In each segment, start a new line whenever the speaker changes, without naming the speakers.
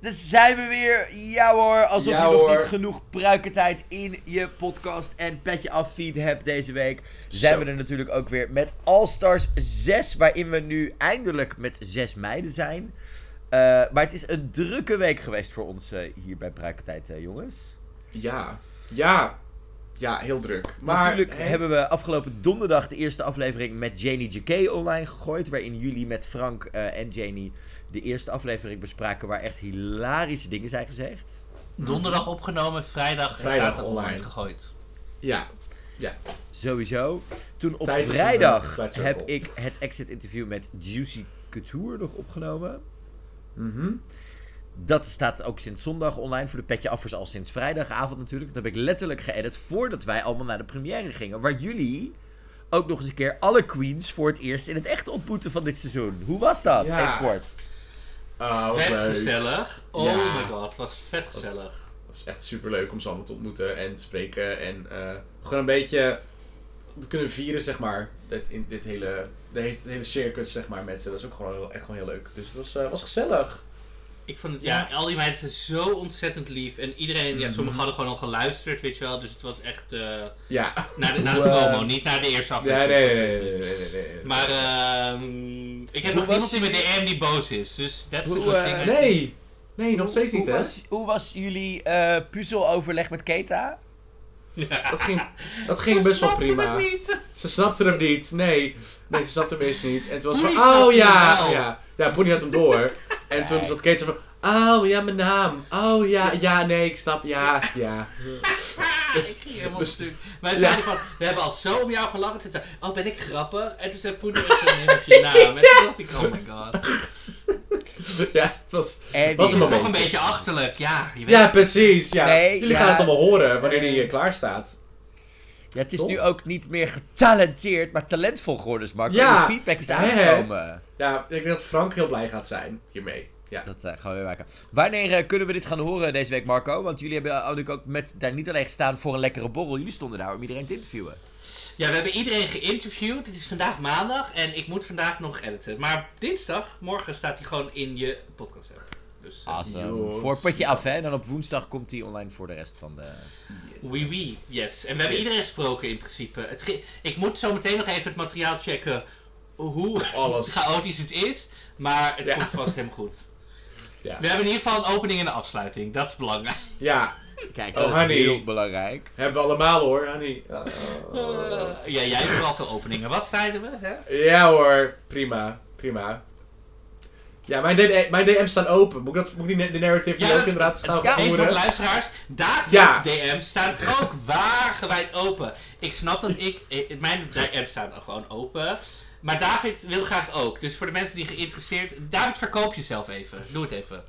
Dus zijn we weer. Ja hoor, alsof
Ja
je nog
hoor.
niet genoeg pruikentijd in je podcast en petje af feed hebt deze week. Zijn
Zo.
we er natuurlijk ook weer met All Stars 6, waarin we nu eindelijk met zes meiden zijn. Eh, maar het is een drukke week geweest voor ons eh, hier bij Pruikentijd, eh, jongens.
Ja, ja. Ja, heel druk. Maar
Natuurlijk
hè,
hebben we afgelopen donderdag de eerste aflevering met Janie JK online gegooid. Waarin jullie met Frank eh, en Janie de eerste aflevering bespraken waar echt hilarische dingen zijn gezegd.
Donderdag opgenomen, vrijdag, en
Vrijdag
zaterdag online
online.
gegooid.
Ja,
Sowieso. Toen op
Tijdens de
vrijdag
Flat Circle.
heb ik het exit interview met Juicy Couture nog opgenomen.
Mhm.
Dat staat ook sinds zondag online voor de petje affers al sinds vrijdagavond natuurlijk. Dat heb ik letterlijk geëdit voordat wij allemaal naar de première gingen. Waar jullie ook nog eens een keer alle queens voor het eerst in het echt ontmoeten van dit seizoen. Hoe was dat?
Ja.
Even kort.
Oh, wat
vet
leuk.
gezellig. Oh
Ja.
my god, was vet gezellig.
Het is echt superleuk om ze allemaal te ontmoeten en te spreken. En eh, gewoon een beetje te kunnen vieren, zeg maar. Dit, in, dit hele, de he- het hele circus, zeg maar, met ze. Dat is ook gewoon heel, echt gewoon heel leuk. Dus het was, eh, was gezellig.
Ik vond het, ja, al die meiden zijn zo ontzettend lief. En iedereen, ja, sommigen hadden gewoon al geluisterd, weet je wel. Dus het was echt eh,
Ja.
naar de, naar de
Hoe, eh,
promo, niet naar de eerste
Nee,
aflevering.
nee, nee, nee, nee, nee, nee, nee.
Maar ehm, ik heb
Hoe
nog
was
iemand in mijn
die-
DM die boos is. Dus that's
Hoe,
a good thing.
eh,
I-
Nee! Nee, nog steeds niet,
Hoe
hè?
was, hoe was jullie eh, puzzeloverleg met Keta?
Ja.
Dat ging, dat ging best wel
Snapte
prima.
het niet.
Ze snapte hem niet. Nee, nee ze snapte hem eerst niet. En toen was ze
Bonnie
van, oh
snapte
ja,
hem wel.
ja. Ja, Bonnie had hem door. En toen zat Kate zo van, oh ja, mijn naam. Oh ja, ja, nee, ik snap, ja, ja.
Ah, ik ging helemaal
Dus-
stuk. Wij
Ja.
zeiden van, we hebben al zo om jou gelachen. Toen zei, oh ben ik grappig? En toen zei Poeder, neem ik je naam. En toen dacht ik, oh my god.
Ja, het was,
En
Was
Het is
een
toch een
momentje.
beetje achterlijk, ja. Je weet
ja precies. Ja.
Nee,
Jullie
ja.
gaan het allemaal horen wanneer die eh, klaar staat.
Ja, het is
Toch?
nu ook niet meer getalenteerd, maar talentvol geworden is, Marco.
Ja.
De feedback is
Hè?
aangekomen.
Ja, ik denk dat Frank heel blij gaat zijn hiermee. Ja.
Dat eh, gaan we weer maken. Wanneer eh, kunnen we dit gaan horen deze week, Marco? Want jullie hebben eh, natuurlijk ook met, daar niet alleen gestaan voor een lekkere borrel. Jullie stonden daar om iedereen te interviewen.
Ja, we hebben iedereen geïnterviewd. Het is vandaag maandag en ik moet vandaag nog editen. Maar dinsdag, morgen staat hij gewoon in je podcast app. Dus
Ah,
eh,
Awesome.
Yo.
Voor potje af, hè? En dan op woensdag komt die online voor de rest van de...
eh, oui, oui, yes. En we hebben
Yes.
iedereen gesproken in principe. Het ge- ik moet zo meteen nog even het materiaal checken hoe
Alles.
chaotisch het is. Maar het
Ja.
komt vast helemaal goed.
Ja.
We hebben in ieder geval een opening en een afsluiting. Dat is belangrijk.
Ja,
Kijk,
Oh,
dat
honey.
is heel belangrijk.
hebben we allemaal hoor, honey. Oh.
Eh, ja, jij hebt wel veel openingen. Wat zeiden we? Hè?
Ja hoor, prima, prima. Ja, mijn, DD mijn DM's staan open. Moet ik, dat, moet ik die na- de narrative
Ja,
die
dat-
ook inderdaad
ja,
gaan
Even voor de
voeren?
luisteraars, David's
Ja.
DM's staan ook wagenwijd open. Ik snap dat ik, eh, mijn DM's staan gewoon open. Maar David wil graag ook. Dus voor de mensen die geïnteresseerd... David, verkoop jezelf even. Doe het even.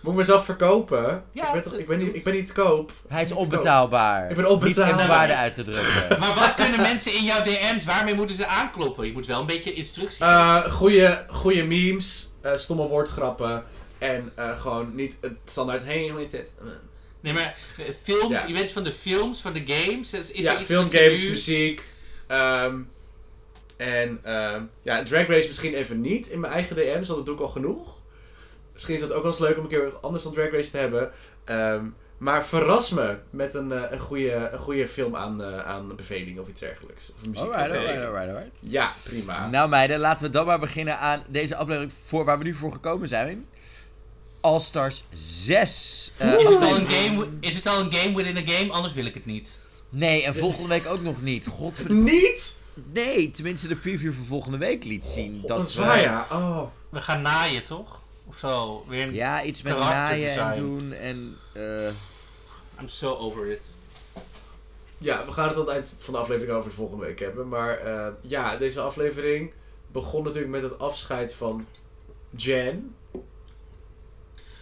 Moet ik mezelf verkopen?
Ja,
ik, ben toch,
dat
ik, ben
doe
niet,
het.
ik ben niet te koop.
Hij is onbetaalbaar.
Ik ben onbetaalbaar.
Niet in waarde uit te drukken.
Maar wat kunnen mensen in jouw DM's, waarmee moeten ze aankloppen? Je moet wel een beetje instructie geven.
Eh goede, goede memes, eh, stomme woordgrappen. En eh, gewoon niet het standaard, hey, hoe is dit?
Nee, maar eh, filmt,
ja.
je bent van de films, van de games. Is, is er
ja,
iets
filmgames,
dat je nu-
muziek. ehm, en ehm, ja, Drag Race misschien even niet in mijn eigen DM's, want dat doe ik al genoeg. Misschien is dat ook wel eens leuk om een keer wat anders dan Drag Race te hebben. Ehm, maar verras me met een, eh, een, goede, een goede film aan, eh, aan beveling of iets dergelijks. Of een
Alright,
muziekbeveling.
alright, alright, alright.
Ja, prima.
Nou meiden, laten we dan maar beginnen aan deze aflevering voor waar we nu voor gekomen zijn. All Stars 6. Eh,
Is het, al een
aflevering-
game, is het al een game within a game? Anders wil ik het niet.
Nee, en volgende week ook nog niet. Godver...
Niet!
Nee, tenminste de preview van volgende week liet zien.
Dat
dat
is
we-
waar, ja. Oh.
We gaan naaien, toch? Of zo. Weer een...
Ja, iets met naaien
Karakterdesign.
en doen en... eh,
I'm so over it.
Ja, we gaan het aan het eind van de aflevering over de volgende week hebben. Maar eh, ja, deze aflevering begon natuurlijk met het afscheid van Jen.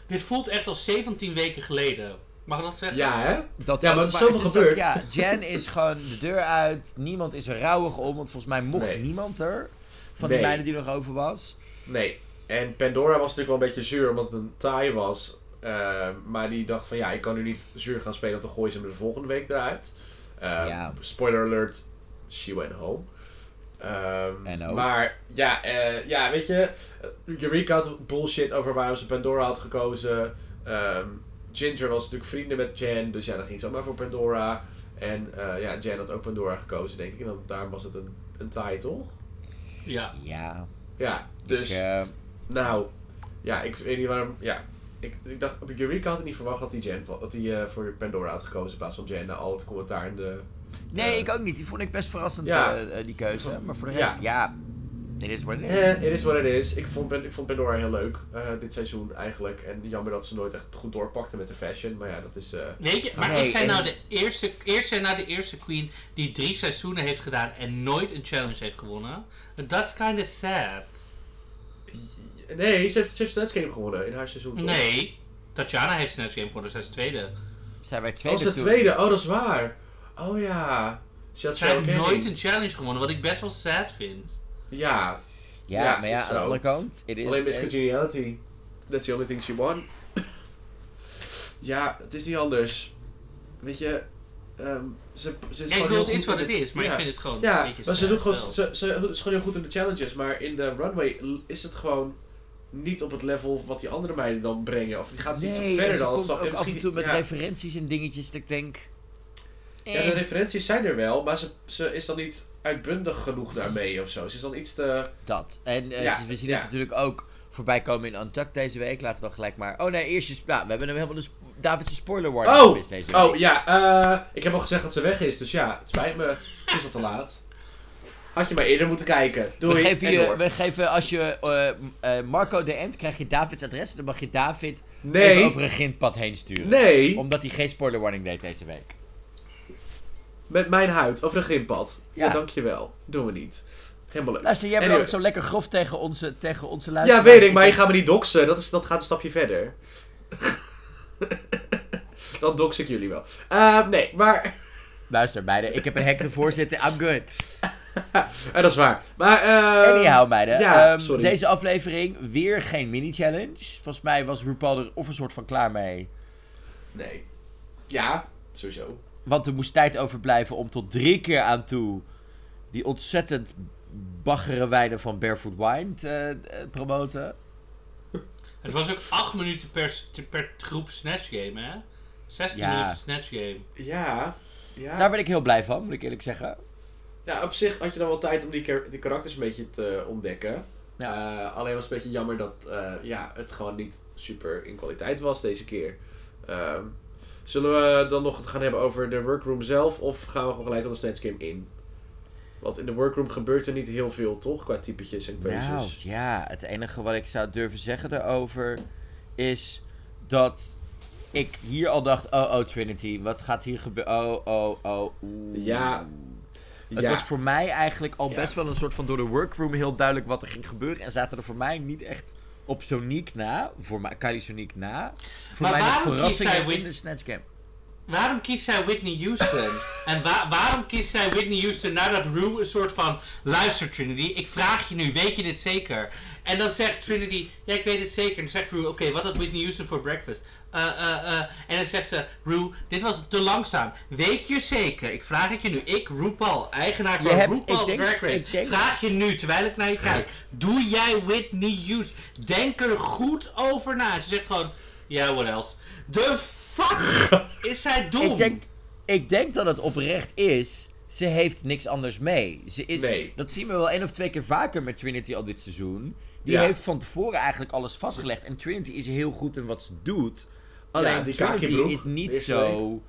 Dit voelt echt als 17 weken geleden. Mag ik dat zeggen?
Ja, hè?
dat
Ja,
ook,
maar er is zoveel
het
gebeurd.
ook- ja, Jan is gewoon de deur uit. Niemand is er rouwig om, want volgens mij mocht
Nee.
niemand er. Van
Nee.
die meiden die nog over was.
Nee. En Pandora was natuurlijk wel een beetje zuur omdat het een taai was. Eh, maar die dacht van ja, ik kan nu niet zuur gaan spelen, want dan gooi ze hem de volgende week eruit. Eh,
Ja.
Spoiler alert, she went home. Ehm,
En ook.
Maar ja, eh, ja, weet je, eh, Eureka had bullshit over waarom ze Pandora had gekozen. Ehm, Ginger was natuurlijk vrienden met Jan, dus ja, dan ging ze allemaal voor Pandora. En eh, ja, Jan had ook Pandora gekozen, denk ik. En dan, daarom was het een, een tie, toch?
Ja.
Ja,
Ja, dus...
ik, eh,
Nou, ja, ik weet niet waarom. Ja, ik, ik dacht, op Eureka had ik niet verwacht dat hij, Jen, dat hij eh, voor Pandora had gekozen in plaats van Jen na al het commentaar in de.
nee,
eh,
ik ook niet. Die vond ik best verrassend,
Ja.
eh, eh, die keuze. Maar voor de rest, ja. It is what it is.
Eh, it is what it is. Ik vond, Pan- ik vond Pandora heel leuk eh, dit seizoen eigenlijk. En jammer dat ze nooit echt goed doorpakte met de fashion. Maar ja, dat is. eh,
Weet je, maar
Nee,
is zij
en-
nou de eerste, is zij nou de eerste queen die drie seizoenen heeft gedaan en nooit een challenge heeft gewonnen? That's kind of sad.
Nee, ze heeft, ze heeft Snatch Game gewonnen in haar seizoen. Toch?
Nee, Tatjana heeft Snatch Game gewonnen, zij is tweede.
Zij werd
Oh,
tweede
ze
toen.
tweede. Oh, dat is waar. Oh ja. Ze had
Zij heeft
Cheryl Cain.
nooit een challenge gewonnen, wat ik best wel sad vind.
Ja,
Ja,
Ja,
maar ja,
is
aan de
zo.
andere kant. it is-
Alleen Miss
eh,
Congeniality. That's the only thing she won. ja, het is niet anders. Weet je, ehm, ze, ze is
Nee, ik
gewoon
bedoel,
heel
het is
goed
wat
in
het
de-
is, maar
ja.
ik vind het gewoon
Ja,
een beetje
maar ze,
sad
doet gewoon,
wel.
ze, ze is gewoon heel goed in de challenges, maar in de runway l- is het gewoon niet op het level wat die andere meiden dan brengen. Of die gaat iets
Nee, en
verder
ze
dan.
komt
snap je?
ook af en
Misschien-
toe met
ja.
referenties en dingetjes dat ik denk...
Ja,
eh.
de referenties zijn er wel, maar ze, ze is dan niet uitbundig genoeg daarmee of zo. Ze is dan iets te...
Dat. En eh,
Ja,
ze- we zien
ja.
het natuurlijk ook voorbij komen in Untucked deze week. Laten we dan gelijk maar... Oh nee, eerst je... sp- Nou, we hebben hem helemaal de... sp- David's spoiler warning
Oh!
gemist deze week.
Oh ja, eh, ik heb al gezegd dat ze weg is, dus ja, het spijt me. Het is al te laat. Had je maar eerder moeten kijken. Doei.
we geven,
En
je,
door.
we geven als je eh, eh, Marco DM't, krijg je Davids adres. En dan mag je David even
Nee,
over een grindpad heen sturen.
nee,
Omdat hij geen spoiler warning deed deze week.
met mijn huid over een grimpad. Ja.
Ja.
dankjewel. Doen we niet. Helemaal leuk.
Luister, jij bent
Anyway.
ook zo lekker grof tegen onze, tegen onze
Ja,
luisteraars.
weet ik, maar je gaat me niet doxen. Dat, is, dat gaat een stapje verder. Dan dox ik jullie wel. Eh, nee, maar...
Luister, meiden, ik heb een hek ervoor zitten. I'm good.
eh, dat is waar. Maar, eh...
Anyhow, meiden.
ja,
ehm,
sorry.
Deze aflevering weer geen mini-challenge. Volgens mij was RuPaul er of een soort van klaar mee.
Nee. Ja, sowieso.
Want er moest tijd overblijven om tot drie keer aan toe die ontzettend baggere wijnen van Barefoot Wine te eh, promoten.
Het was ook 8 minuten per, s- per groep Snatch Game, hè? 16
Ja.
minuten Snatch Game.
Ja. Ja.
Daar ben ik heel blij van, moet ik eerlijk zeggen.
Ja, op zich had je dan wel tijd om die, kar- die karakters een beetje te eh, ontdekken.
Ja.
Eh, alleen was het een beetje jammer dat eh, ja, het gewoon niet super in kwaliteit was deze keer. Ehm, zullen we dan nog het gaan hebben over de workroom zelf? Of gaan we gewoon gelijk al de Snatch Game in? Want in de workroom gebeurt er niet heel veel, toch? Qua typetjes en keuzes.
Nou, ja, het enige wat ik zou durven zeggen daarover is dat ik hier al dacht, oh oh Trinity, wat gaat hier gebeuren? Oh oh oh. oeh.
Ja.
Het
ja.
was voor mij eigenlijk al
Ja.
best wel een soort van door de workroom heel duidelijk wat er ging gebeuren. En zaten er voor mij niet echt op Sonic na, voor mij, Kylie Sonic na. Voor
Maar
mij nog
waarom kiest
verrassingen
zij Win-
in de Snatch Game.
Waarom kiest zij Whitney Houston? en wa- waarom kiest zij Whitney Houston nadat Rue een soort van... Luister Trinity, ik vraag je nu, weet je dit zeker? En dan zegt Trinity, ja ik weet het zeker. En dan zegt Rue, oké, wat had Whitney Houston voor breakfast? Eh, eh, eh. En dan zegt ze, Rue, dit was te langzaam. Weet je zeker? Ik vraag het je nu. Ik, RuPaul, eigenaar
Je
van
hebt-
RuPaul's
ik denk-
Drag Race.
ik denk-
Vraag je nu, terwijl ik naar je kijk. Doe jij Whitney Houston? Denk er goed over na. Ze zegt gewoon, ja, what else? De fuck is zij dom?
Ik denk, ik denk dat het oprecht is. Ze heeft niks anders mee. Ze is,
Nee.
Dat zien we wel één of twee keer vaker met Trinity al dit seizoen. Die
Ja.
heeft van tevoren eigenlijk alles vastgelegd. En Trinity is heel goed in wat ze doet. Alleen
die
Trinity
kakebroek,
is niet
eerste
zo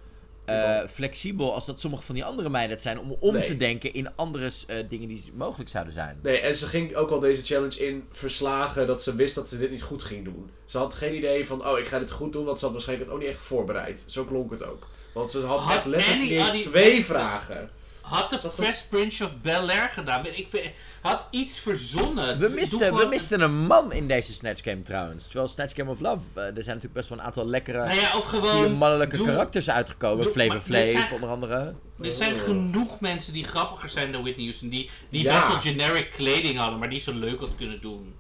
eh, flexibel als dat sommige van die andere meiden het zijn. Om om
Nee.
te denken in andere eh, dingen die mogelijk zouden zijn.
Nee, en ze ging ook al deze challenge in verslagen dat ze wist dat ze dit niet goed ging doen. Ze had geen idee van, oh, ik ga dit goed doen, want ze had waarschijnlijk het ook niet echt voorbereid. Zo klonk het ook. Want ze had,
Had
echt letterlijk
Annie
niet eens
Annie
twee
even-
vragen.
Had de
Zat er-
Fresh Prince of Bel-Air gedaan? Ik vind- had iets verzonnen.
We
Doe
misten, we
gewoon-
misten een man in deze Snatch Game trouwens. Terwijl Snatch Game of Love, eh, er zijn natuurlijk best wel een aantal lekkere...
Nou ja, of
vier
gewoon...
mannelijke
doe-
karakters uitgekomen.
doe-
Flavor
maar-
Flav,
dus hij-
onder andere.
Er zijn genoeg mensen die grappiger zijn dan Whitney Houston. Die, die
Ja.
best wel generic kleding hadden, maar die zo leuk had kunnen doen.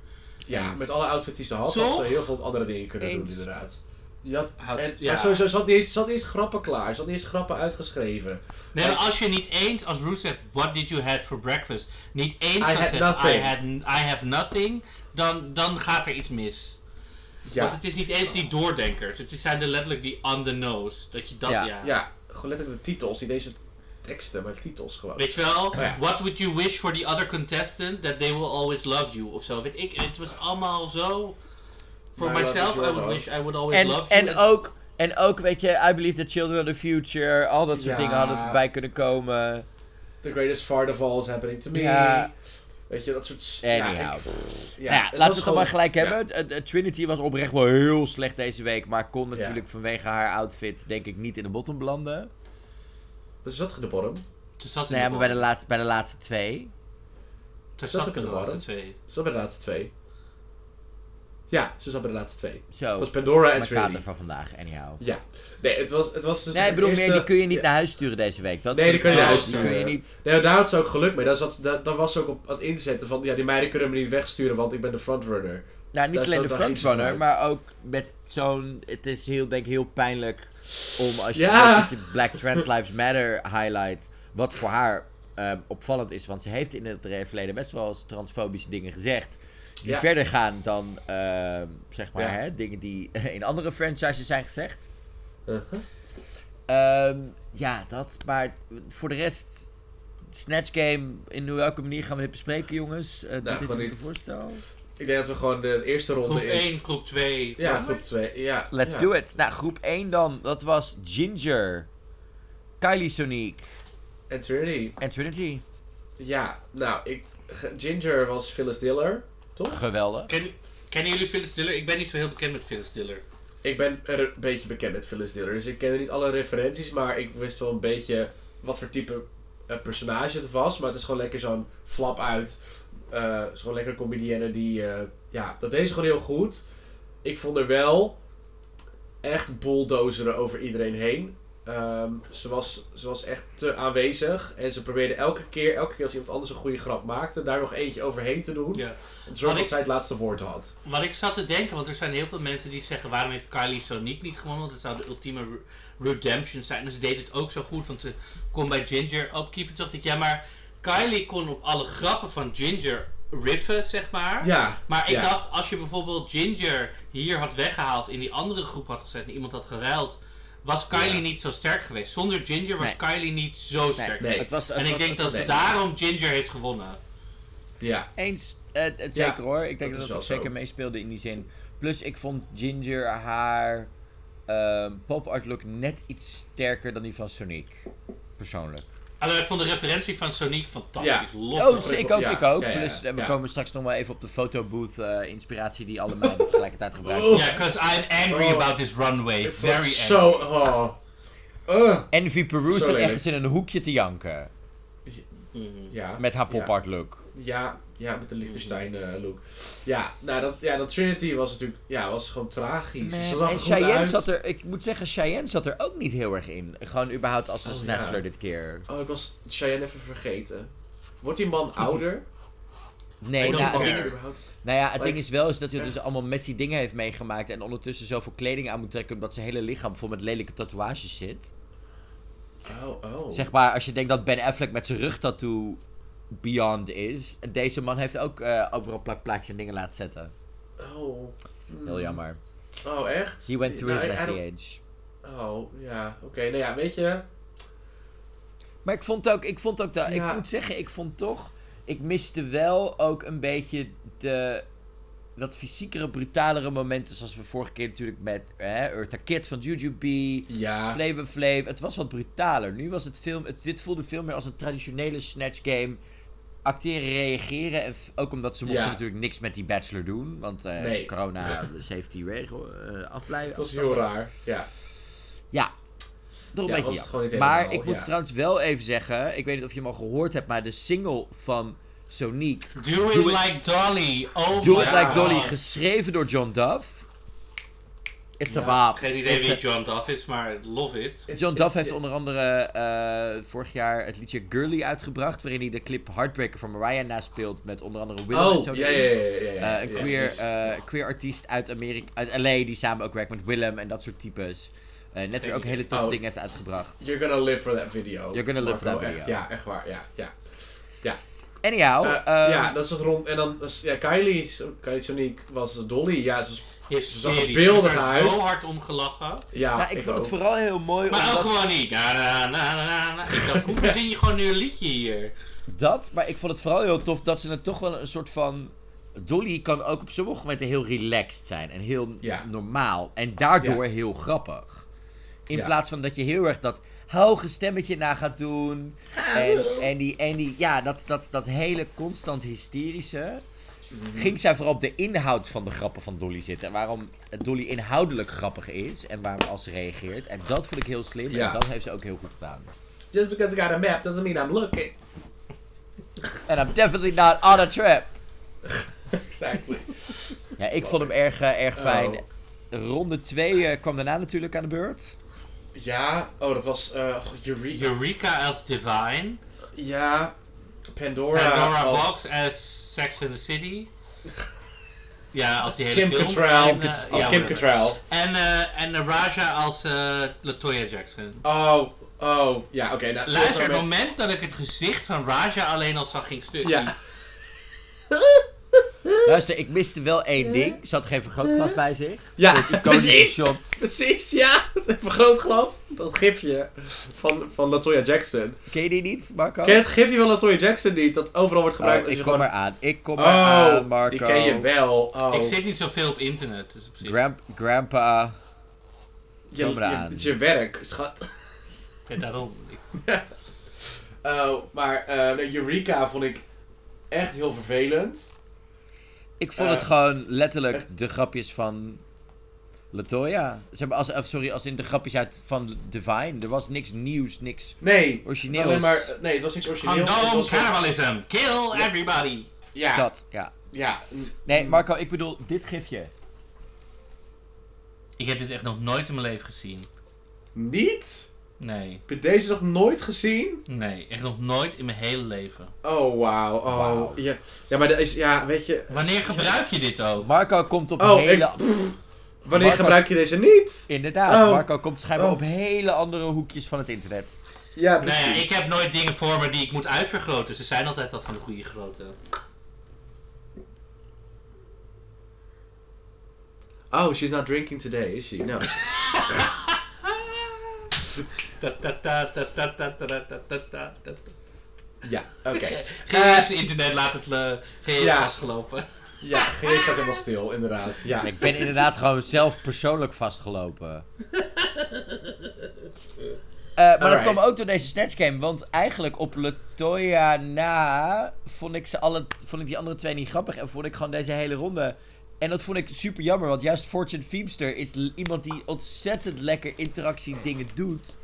Ja,
Eens.
met alle outfits die ze had,
Toch?
had ze heel veel andere dingen kunnen
Eens.
doen, inderdaad. Je had,
Had-
en,
ja.
Maar sowieso, ze had, niet eens, ze had niet eens grappen klaar. Ze had niet eens grappen uitgeschreven.
Nee, maar als je niet eens, als Ruth zegt, what did you have for breakfast? Niet eens
I
kan
had
zeggen,
nothing.
I, had, I have nothing, dan, dan gaat er iets mis.
Ja,
Want het is niet eens die doordenkers. Het zijn er letterlijk die on the nose. Dat je dat,
Ja.
ja.
ja, gewoon letterlijk de titels. Niet deze teksten, maar de titels gewoon.
Weet je wel,
Ja.
what would you wish for the other contestant that they will always love you of zo. Weet ik, het was allemaal zo. For
Maar dat is
myself, I
wel
would
leuk.
wish I would always
En,
love you.
en, ook, en ook, weet je, I believe the children of the future. Al dat soort
Ja.
dingen hadden voorbij kunnen komen.
The greatest part of all is happening to me.
Ja.
Weet je, dat soort... s-
Anyhow.
Ja, ik-
nou
ja,
ja,
het
laten we
was
het dan
gewoon-
maar gelijk
ja.
hebben. Eh, eh, Trinity was oprecht wel heel slecht deze week. Maar kon
Ja.
natuurlijk vanwege haar outfit, denk ik, niet in de bottom belanden.
Dus zat in de bottom.
Toen zat in
Nee,
de
maar bij de,
bottom.
laatste, bij de laatste twee.
Toen
zat
zat
ik
ik
in
er
de
nog
bottom.
altijd twee.
Ze zat bij de laatste twee. Ja, ze zat bij de laatste twee.
Zo,
Het was Pandora en
Oh. mijn kater
Trinity.
van vandaag, anyhow.
Ja. Nee, het was, het was dus
Nee, ik
het
bedoel, meer,
eerste-
die kun je niet
Ja.
naar huis sturen deze week. Dat
Nee, die kun je
naar
Ja,
huis
die
sturen.
kun je niet.
Nee, daar had ze ook geluk mee. Daar, zat, daar, daar was ze ook op aan het inzetten van... Ja, die meiden kunnen me niet wegsturen, want ik ben de frontrunner.
Nou, niet
Daar
alleen de
zat wel iets
frontrunner,
vanuit.
maar ook met zo'n... Het is heel, denk ik, heel pijnlijk om als je,
Ja.
weet dat je Black Trans Lives Matter highlight... Wat voor haar eh, opvallend is, want ze heeft in het verleden best wel eens transfobische dingen gezegd. Die
Ja.
verder gaan dan, eh, zeg maar,
Ja.
hè, dingen die in andere franchises zijn gezegd.
Uh-huh.
Ehm, ja, dat. Maar voor de rest... Snatch Game, in welke manier gaan we dit bespreken, jongens? Eh,
Nou,
dit is
gewoon
een
niet.
voorstel.
Ik denk dat we gewoon de, de eerste ronde
Groep
is...
1, groep 2.
Ja, groep 2. Ja,
Let's do it. Nou, groep 1 dan. Dat was Ginger, Kylie Sonique
En Trinity.
en Trinity.
Ja, nou, ik, G- Ginger was Phyllis Diller, toch?
Geweldig.
Ken, kennen jullie Phyllis Diller? Ik ben niet zo heel bekend met Phyllis Diller.
Ik ben er een beetje bekend met Phyllis Diller, dus ik kende niet alle referenties, maar ik wist wel een beetje wat voor type eh, personage het was. Maar het is gewoon lekker zo'n flap uit. Eh, het is gewoon lekker een comedienne die, eh, ja, dat deed ze gewoon heel goed. Ik vond er wel echt bulldozeren over iedereen heen. Ehm, ze, was, ze was echt te aanwezig en ze probeerde elke keer, elke keer als iemand anders een goede grap maakte, daar nog eentje overheen te doen.
Ja.
Om te zorgen
Had
dat
ik-
zij het laatste woord had.
Wat ik zat te denken, want er zijn heel veel mensen die zeggen: waarom heeft Kylie Sonique niet gewonnen? Want het zou de ultieme re- redemption zijn. En ze deed het ook zo goed, want ze kon bij Ginger opkeepen. Toen dacht ik: ja, maar Kylie kon op alle grappen van Ginger riffen, zeg maar.
Ja.
Maar ik
ja.
dacht, als je bijvoorbeeld Ginger hier had weggehaald, in die andere groep had gezet en iemand had geruild, was Kylie
Ja.
niet zo sterk geweest. Zonder Ginger was
Nee.
Kylie niet zo sterk
Nee,
geweest.
het was, het
En ik
was-
denk
het
dat
was
ze
nee.
daarom Ginger heeft gewonnen.
Ja.
Eens, eh, het- het zeker
Ja,
hoor. Ik denk
dat
dat dat
is
ook
wel zo.
zeker meespeelde in die zin. Plus, ik vond Ginger haar ehm pop art look net iets sterker dan die van Sonique. Persoonlijk.
Alleen ik vond de referentie van Sonic fantastisch. Lof.
Oh, ik ook,
Ja,
ik ook.
ja, ja,
Plus, eh, we
ja.
komen straks nog wel even op de fotobooth eh, inspiratie die alle meiden tegelijkertijd gebruiken.
Oh.
Ja, because I'm angry
Oh.
about this runway.
Ik vond het
Very angry.
zo. Oh. Ugh.
Envy Peru
Zo
staat
lelijk.
ergens in een hoekje te janken.
Mhm.
Ja.
Mm. Met haar Mm. pop art look.
Ja, ja, met de Liechtenstein eh, look. Ja, nou dat, ja, dat Trinity was natuurlijk. Ja, was gewoon tragisch.
Man,
Ze zag
en
er goed
Cheyenne
uit.
zat er, ik moet zeggen, Cheyenne zat er ook niet heel erg in. Gewoon überhaupt als een
Oh,
snatchler
ja.
dit keer.
Oh, ik was Cheyenne even vergeten. Wordt die man ouder?
Nee,
I don't
nou, het
care.
ding is, nou ja, het ding is wel is dat hij dus
echt.
allemaal messy dingen heeft meegemaakt. En ondertussen zoveel kleding aan moet trekken omdat zijn hele lichaam vol met lelijke tatoeages zit.
Oh, oh.
Zeg maar, als je denkt dat Ben Affleck met zijn rugtattoo beyond is. Deze man heeft ook eh, overal plakplaatjes en dingen laten zetten.
Oh. Hmm.
Heel jammer.
Oh, echt?
He went through
Nou,
his
I- I
messy age.
don't- Oh, ja. Oké, nou ja, weet je.
Maar ik vond ook, ik vond ook dat,
Ja.
ik moet zeggen, ik vond toch, ik miste wel ook een beetje de wat fysiekere, brutalere momenten, zoals we vorige keer natuurlijk met hè, Eartha Kitt van Jujubee,
Ja.
Flavor Flav. Het was wat brutaler. Nu was het film, het, dit voelde veel meer als een traditionele snatch game. Acteren, reageren. En f- ook omdat ze mochten
Ja.
natuurlijk niks met die Bachelor doen. Want eh,
Nee.
corona, safety regel, eh afblijven.
Dat was heel raar. Ja.
Ja. Nog een beetje
Ja, was het
jammer.
gewoon niet
Maar
helemaal,
ik moet
ja.
trouwens wel even zeggen, ik weet niet of je hem al gehoord hebt, maar de single van Sonique,
Do it
Do it-
like Dolly. Oh
Do
my
It
Ja.
Like Dolly, geschreven door John Duff. It's
Ja,
a bop.
Geen idee
It's
wie
a-
John Duff is, maar love it.
John Duff heeft onder andere eh, vorig jaar het liedje Girly uitgebracht, waarin hij de clip Heartbreaker van Mariah naspeelt met onder andere Willow en
Oh,
zo.
ja, ja,
erin.
ja, ja, ja, ja.
Eh, een
Ja,
queer,
dus-
eh, queer artiest uit, Amerika, uit LA die samen ook werkt met Willem en dat soort types. Eh, net weer ook hele toffe
Oh.
dingen heeft uitgebracht.
You're gonna live for that video.
You're gonna live for
Marco,
that
echt,
video.
ja, echt waar. Ja, ja.
Anyhow,
Eh,
ehm,
dus, ja, dat was rond. En dan was- ja, Kylie, Kylie Sonic was Dolly. Ja, ze was
Hysterie.
beeldig
Ik heb er
uit.
zo hard om gelachen.
Ja,
nou, ik, vond het
ook.
vooral heel mooi
Maar ook
omdat
gewoon niet. Na, na, na, na, na. Ik dacht, hoe verzin je gewoon nu een liedje hier?
dat, maar ik vond het vooral heel tof dat ze het toch wel een soort van Dolly kan ook op sommige momenten heel relaxed zijn en heel
Ja.
normaal en daardoor heel grappig. In
Ja.
plaats van dat je heel erg dat hoge stemmetje na gaat doen en, en die en die ja, dat dat dat hele constant hysterische
Mhm.
ging zij vooral op de inhoud van de grappen van Dolly zitten. En waarom Dolly inhoudelijk grappig is en waarom als ze reageert. En dat vond ik heel slim
Ja.
en dat heeft ze ook heel goed gedaan.
Just because I got a map doesn't mean I'm looking.
En I'm definitely not on a trip.
Exactly.
Ja, ik vond hem erg, eh, erg fijn.
Oh.
Ronde 2 kwam daarna natuurlijk aan de beurt.
Ja, oh, dat was eh goh, Eureka.
Eureka als Divine.
Ja, Pandora.
Pandora
als
Box as Sex and the City. Ja, als die hele
Kim
film.
Cattrall.
En, eh,
Als
Als
ja,
Kim
whatever.
Cattrall.
En, eh, en eh, Raja als eh, Latoya Jackson.
Oh, oh, ja, oké. nou,
Luister,
zullen
het
we met-
moment dat ik het gezicht van Raja alleen al zag, ging stuk.
Ja.
Luister, ik miste wel één ding. Ze had geen vergrootglas bij zich.
Ja,
Iconische
precies.
shot.
Precies, ja. Het vergrootglas. Dat gifje van, van Latoya Jackson.
Ken je die niet, Marco?
Ken je het gifje van Latoya Jackson niet? Dat overal wordt
Oh,
gebruikt als
ik
je
kom
gewoon...
maar aan. Ik kom maar
Oh,
aan, Marco.
die ken je wel. Oh.
Ik zit niet zoveel op internet, dus op zich.
Gramp- grandpa.
je,
kom maar
je-
aan.
Het is je werk, schat.
Ja, daarom. Ik-
Oh, maar eh, nee, Eureka vond ik echt heel vervelend.
Ik vond
Eh.
het gewoon letterlijk de grapjes van Latoya. Ze hebben als, of sorry, als in de grapjes uit van Divine. Er was niks nieuws, niks.
Nee,
Origineels.
het was alleen maar, eh, nee, het was niks origineel. het
Condone
was gewoon-
cannibalism. Kill everybody.
ja,
Dat, ja.
ja,
Nee, Marco, ik bedoel dit gifje.
Ik heb dit echt nog nooit in mijn leven gezien.
niet?
Nee,
Heb je deze nog nooit gezien?
nee, echt nog nooit in mijn hele leven.
Oh, wauw. Oh,
Wauw.
Ja. ja, maar dat is, ja, weet je...
Wanneer gebruik je dit ook?
Marco komt op
Oh,
hele...
ik- Wanneer
Marco-
gebruik je deze niet?
Inderdaad,
Oh.
Marco komt schijnbaar
Oh.
op hele andere hoekjes van het internet.
Ja,
Nou
precies.
ja, ik heb nooit dingen voor me die ik moet uitvergroten. Ze zijn altijd al van de goede grootte.
Oh, she's not drinking today, is she? No.
Ta ta ta ta ta ta ta ta ta ta ta ta.
ja, oké. Eh,
Geen eens internet laat het eh, geheel
Ja.
vastgelopen.
Ja, Geert staat helemaal stil, inderdaad. Ja.
Ik ben inderdaad gewoon zelf persoonlijk vastgelopen. Eh, maar dat
Alright.
kwam ook door deze Snatch Game. Want eigenlijk op Latoya na vond ik, ze alle, vond ik die andere twee niet grappig. En vond ik gewoon deze hele ronde... En dat vond ik super jammer. Want juist Fortune Feemster is l- iemand die ontzettend lekker interactie dingen doet.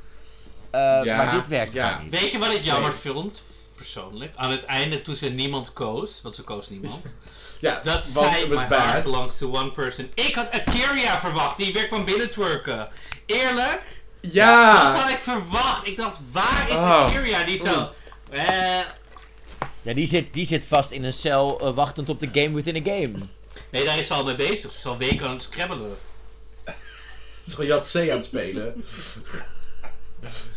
Eh,
Ja,
maar dit werkt
ja.
gewoon niet.
Weet je wat ik jammer vond? Persoonlijk. Aan het einde toen ze niemand koos. Want ze koos niemand.
ja
Dat
want
zij
het
My
was
Heart
bad.
Belongs to One Person. Ik had Akiria verwacht. Die weer kwam binnentwerken. Eerlijk. Dat
Ja!
had ik verwacht. Ik dacht, waar is
Ah. Oh.
Akiria? Die zo... eh,
Ja, die zit, die zit vast in een cel eh, wachtend op de game within a game.
nee, daar is ze al mee bezig. Ze is al weken aan het scrabbelen.
Het is gewoon Jat C aan het spelen.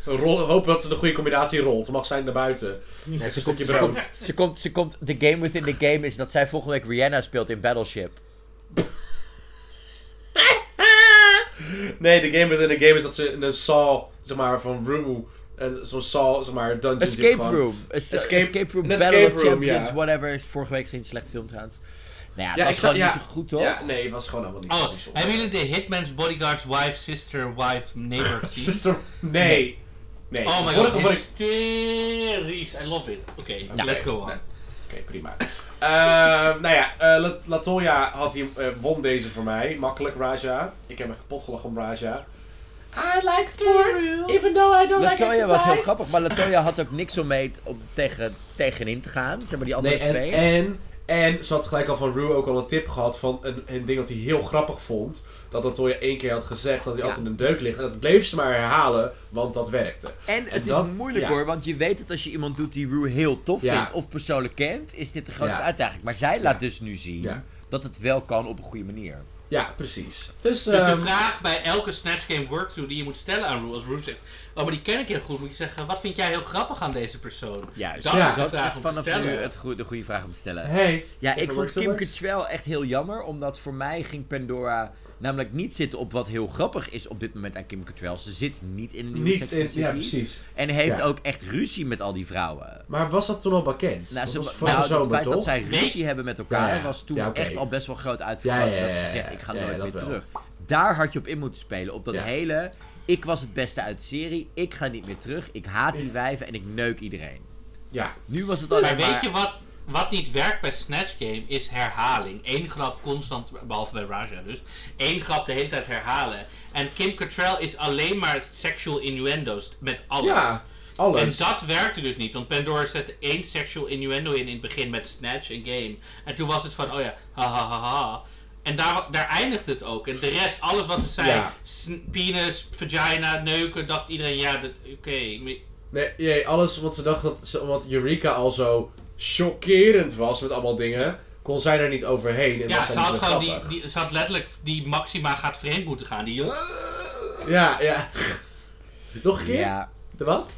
Rol, hoop dat ze de goede combinatie rolt. Mag zij naar buiten.
Nee, ze,
een
komt,
stukje
ze,
brood.
komt, ze, komt, ze komt. De game within the game is dat zij volgende week Rihanna speelt in Battleship.
Nee, de game within the game is dat ze in een Saw, zeg maar, van Rue. En zo'n Saw, zeg maar, dungeon. zit
Escape
gewoon-
Room. Es-
Escape-
escape, Room.
een
Battle
escape
of
room,
Champions,
ja.
whatever. Is vorige week geen slechte film trouwens. Nou ja,
Ja,
dat
ik
was
zag-
gewoon
ja.
niet zo goed toch?
Ja, nee, het was gewoon allemaal niet
Oh,
zo bijzonder.
hebben jullie de Hitman's Bodyguard's Wife, Sister, Wife, Neighbor gezien?
Sister- Nee. Nee.
Oh my god,
Vorige week-
hysterisch. I love it. Oké,
Oké,
let's go on.
nou, Oké, prima. Ehm, nou ja, eh, La- Latoya had hier, eh, won deze voor mij. Makkelijk, Raja. Ik heb me kapot gelachen om Raja. I like sports, even though I don't
Latoya was heel grappig, maar Latoya had ook niks om mee t- om tegen, tegenin te gaan. Zeg maar die andere
Nee, en,
twee.
en, en ze had gelijk al van Rue ook al een tip gehad van een, een ding dat hij heel grappig vond. Dat Latoya één keer had gezegd dat hij
Ja.
altijd in een deuk ligt. En dat bleef ze maar herhalen, want dat werkte.
En het
en
is
dat-
moeilijk
ja.
hoor, want je weet dat als je iemand doet die Rue heel tof
Ja.
vindt of persoonlijk kent, is dit de grootste
Ja.
uitdaging. Maar zij laat dus nu zien
Ja.
dat het wel kan op een goede manier.
Ja, precies. Dus,
Dus de
ehm,
vraag bij elke Snatch Game Workthrough die je moet stellen aan Roel, als Roel zegt, oh maar die ken ik heel goed, moet je zeggen, wat vind jij heel grappig aan deze persoon?
Juist.
Dat
Ja,
is de
Dat
vraag
is
om te
vanaf nu
stellen.
het goe- de goede vraag om te stellen.
hey,
Ja, ik
Even
vond
works
Kim
works.
Cattrall echt heel jammer, omdat voor mij ging Pandora namelijk niet zitten op wat heel grappig is op dit moment aan Kim Cattrall. Ze zit niet in een nieuwe
niet
Sex and
in...
the
Ja,
City.
precies.
En heeft
Ja.
ook echt ruzie met al die vrouwen.
Maar was dat toen al bekend?
Nou,
dat
ze,
was
nou,
vorige
het
zomer,
feit
toch?
dat zij ruzie hebben met elkaar
Ja, ja.
was toen
Ja, oké.
echt al best wel groot
Ja,
uitvergroot.
ja, ja,
dat ze
ja,
gezegd,
ja,
ik ga
ja, ja,
nooit
dat
meer
wel.
terug. Daar had je op in moeten spelen. Op dat
Ja.
hele, ik was het beste uit de serie, ik ga niet meer terug, ik haat die wijven en ik neuk iedereen.
Ja,
Nu was het alleen
Maar
maar...
weet je wat, wat niet werkt bij Snatch Game is herhaling. Eén grap constant, behalve bij Raja dus, één grap de hele tijd herhalen. En Kim Cattrall is alleen maar sexual innuendo's met alles.
ja alles.
En dat werkte dus niet, want Pandora zette één sexual innuendo in in het begin met Snatch en Game. En toen was het van, oh ja, ha ha ha ha. En daar, wa- daar eindigt het ook. En de rest, alles wat ze zei,
Ja.
sn- penis, vagina, neuken, dacht iedereen, ja, dat- oké. ik-
Nee, jee, alles wat ze dacht dat... Ze, want Eureka al zo chockerend was met allemaal dingen... kon zij er niet overheen. En
Ja,
was
ze
zij niet
had,
meer
gewoon die,
grappig.
die, ze had letterlijk die Maxima gaat vreemd moeten gaan. Die, "Oh,
Ja, ja. Nog een keer?
Ja,
De wat?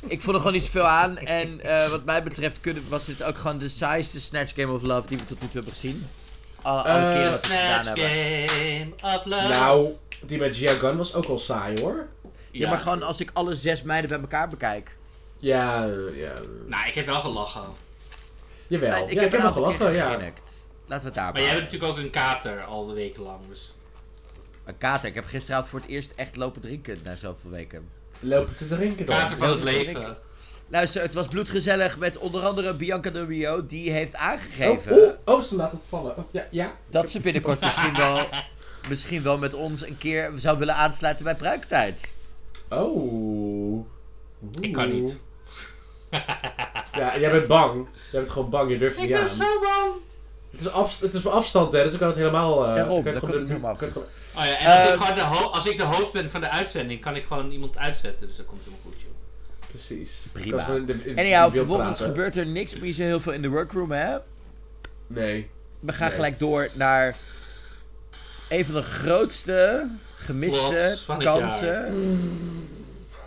ik vond er gewoon niet zoveel aan. En eh, wat mij betreft kunnen, was dit ook gewoon de saaiste Snatch Game of Love die we tot nu toe hebben gezien. Alle, alle
Eh,
keren dat
The
we het gedaan
Snatch
hebben.
Game of Love.
Nou, die met Gia Gunn was ook al saai, hoor.
Ja, maar gewoon als ik alle zes meiden bij elkaar bekijk.
Ja, eh, ja.
Nou, ik heb wel gelachen.
Jawel.
Nee,
ja, ik heb
een
nog
aantal keer
gelachen, ja.
gegrinnikt. Laten we het daar
Maar jij
maar.
hebt natuurlijk ook een kater al de weken lang. Dus.
Een kater. Ik heb gisteravond voor het eerst echt lopen drinken na zoveel weken.
Lopen te drinken dan.
Kater van het
Ja, dat denk
leven.
Luister, het was bloedgezellig met onder andere Bianca de Rio. Die heeft
Oh,
aangegeven
oh, oh, ze laat het vallen. Oh, ja, ja.
dat ze binnenkort misschien wel, misschien wel met ons een keer zou willen aansluiten bij Pruiktijd.
Oh.
Ik kan niet.
Ja, jij bent bang. Jij bent gewoon bang, je durft niet aan.
bang.
Het is, af, het is op afstand, hè, dus ik kan het helemaal... eh
Daarom,
ik kan
dan
gewoon
komt het
de-
helemaal
ik kan
goed.
gewoon-
Oh ja, en als,
Eh,
ik gewoon de ho- als ik de host ben van de uitzending, kan ik gewoon iemand uitzetten. Dus dat komt helemaal goed, joh.
Precies.
Prima.
Ik kan gewoon in de- in- in
Anyhow,
beeld
vervolgens
praten.
gebeurt er niks meer zo heel veel in de workroom, hè?
Nee.
We gaan
Nee.
gelijk door naar een van de grootste gemiste
Flops van het
kansen.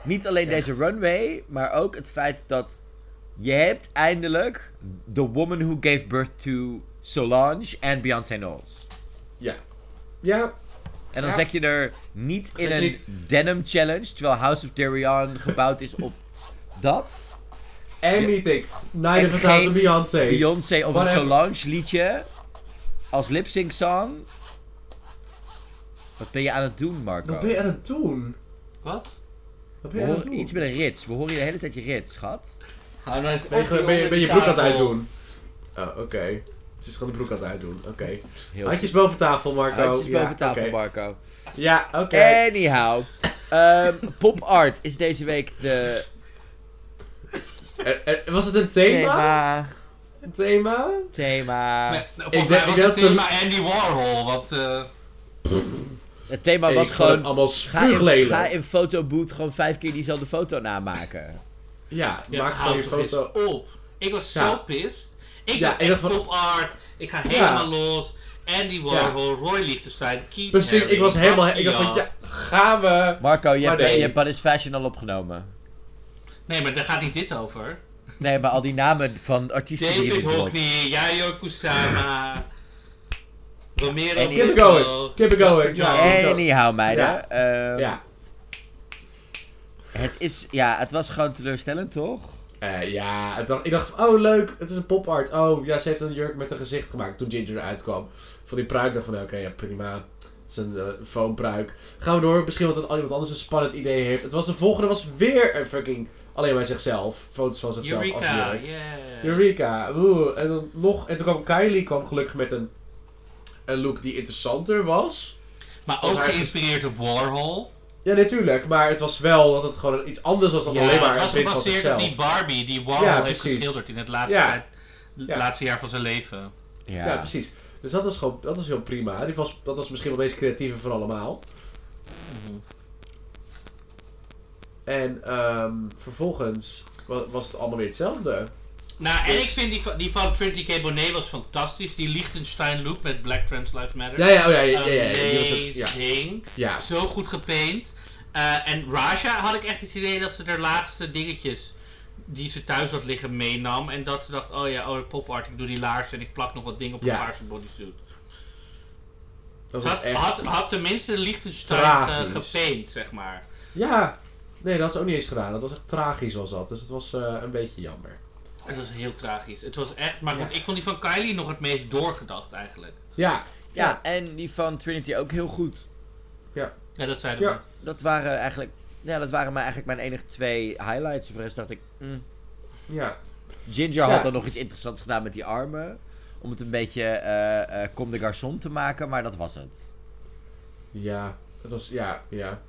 Niet alleen
Echt.
deze runway, maar ook het feit dat je hebt eindelijk The Woman Who Gave Birth to Solange en Beyoncé Knowles.
Ja. Ja.
En dan
Ja.
zeg je er niet in
Zeg
een
je niet-
denim challenge, terwijl House of Darion gebouwd is op dat.
Anything. Night
En
of a Thousand
geen
Beyoncé.
Beyoncé of een
Whatever.
Solange liedje als lip sync song. Wat ben je aan het doen, Marco?
Wat ben je aan het doen?
Wat?
Wat ben
We
je aan het
horen
doen?
iets met een rits. We horen je de hele tijd je rits, schat.
Hou nou eens
Ben je,
op,
gewoon- ben je,
onder
ben je
de
broek aan het
tafel.
uitdoen? Oh, oké. Ze is gewoon de broek aan het uitdoen. Oké.
Heel
Handjes boven tafel,
goed.
Marco.
Handjes
Oh, Ja,
boven tafel,
oké.
Marco.
Ja, oké.
Anyhow. ehm, pop art is deze week de
Eh, eh, Was het een thema?
thema.
Een thema?
thema.
Nee, nou,
denk-
Volgens mij
ik denk
was het
dat ze-
thema Andy Warhol, want... eh,
Het thema
Ik
was
vond het
gewoon
allemaal
Ga in,
spuuglelijk.
ga in fotobooth gewoon vijf keer diezelfde foto namaken.
Ja,
Ja,
maak gewoon
houd
je
toch eens
foto.
op. Ik was
Ja.
zo pissed. Ik
Ja,
ja,
ik
echt
dacht van-
pop art. Ik ga helemaal los. Andy Warhol, Roy Lichtenstein, Keith
Precies,
Haring,
ik was helemaal... Ik
Basquiat.
dacht van, ja, gaan we...
Marco, je
Maar
hebt,
nee.
je hebt Paris Fashion al opgenomen.
Nee, maar daar gaat niet dit over.
Nee, maar al die namen van artiesten die je
David
moet droppen.
Hockney, Yayo Kusama, Romero
Anyway.
Brito,
Keep it going, keep it
Jasper
going.
Jones.
Ja.
Anyhow, meiden.
Ja.
ehm,
Ja.
Het, is, ja, het was gewoon teleurstellend, toch?
Eh, ja, het dacht, ik dacht van, oh leuk, het is een pop art. Oh ja, ze heeft een jurk met een gezicht gemaakt toen Ginger eruit kwam. Van die pruik dacht ik van, oké, ja prima. Het is een eh, foampruik. Gaan we door, misschien wat een, iemand anders een spannend idee heeft. Het was de volgende, was weer een fucking, alleen bij zichzelf. Foto's van zichzelf. als
Eureka,
jurk.
yeah.
Eureka, oeh. En dan nog, en toen kwam Kylie kwam gelukkig met een, een look die interessanter was.
Maar
Want
ook
haar-
geïnspireerd op Warhol.
Ja, natuurlijk, maar het was wel dat het gewoon iets anders was dan
Ja,
alleen maar
het was
een print van
gebaseerd op
zichzelf.
die Barbie die Warhol
Ja,
heeft
precies.
geschilderd in het laatste,
Ja.
tijd-
Ja.
laatste jaar van zijn leven.
Ja.
Ja, precies. Dus dat was gewoon, dat was heel prima. Die was, dat was misschien wel het meest creatieve van allemaal.
Mhm.
En ehm, vervolgens wa- was het allemaal weer hetzelfde.
Nou, en
Dus-
ik vind die van, die van Trinity K. Bonet was fantastisch. Die Liechtenstein look met Black Trans Lives Matter.
Ja, ja, oh ja, ja, ja. ja, die was ook- ja.
Amazing.
ja.
Zo goed gepaint. Eh, en Raja had ik echt het idee dat ze de laatste dingetjes die ze thuis had liggen meenam. En dat ze dacht, oh ja, oh, pop art, ik doe die laars en ik plak nog wat dingen op de
Ja.
laarse bodysuit.
Dat
Ze
was
had,
echt...
had, had tenminste de Liechtenstein
Tragisch.
eh, gepaint, zeg maar.
Ja. Nee, dat had ze ook niet eens gedaan. Dat was echt tragisch was dat. Dus het was eh, een beetje jammer.
Het was heel tragisch. Het was echt, maar goed,
Ja.
ik vond die van Kylie nog het meest doorgedacht eigenlijk.
Ja.
Ja, en die van Trinity ook heel goed.
Ja, dat zeiden we
Ja.
net.
Dat waren eigenlijk, ja, dat waren maar eigenlijk mijn enige twee highlights. Voor de rest dacht ik, mm.
Ja.
Ginger
Ja.
had dan nog iets interessants gedaan met die armen. Om het een beetje eh eh Comme de Garçon te maken, maar dat was het.
Ja. Het was... Ja. Ja.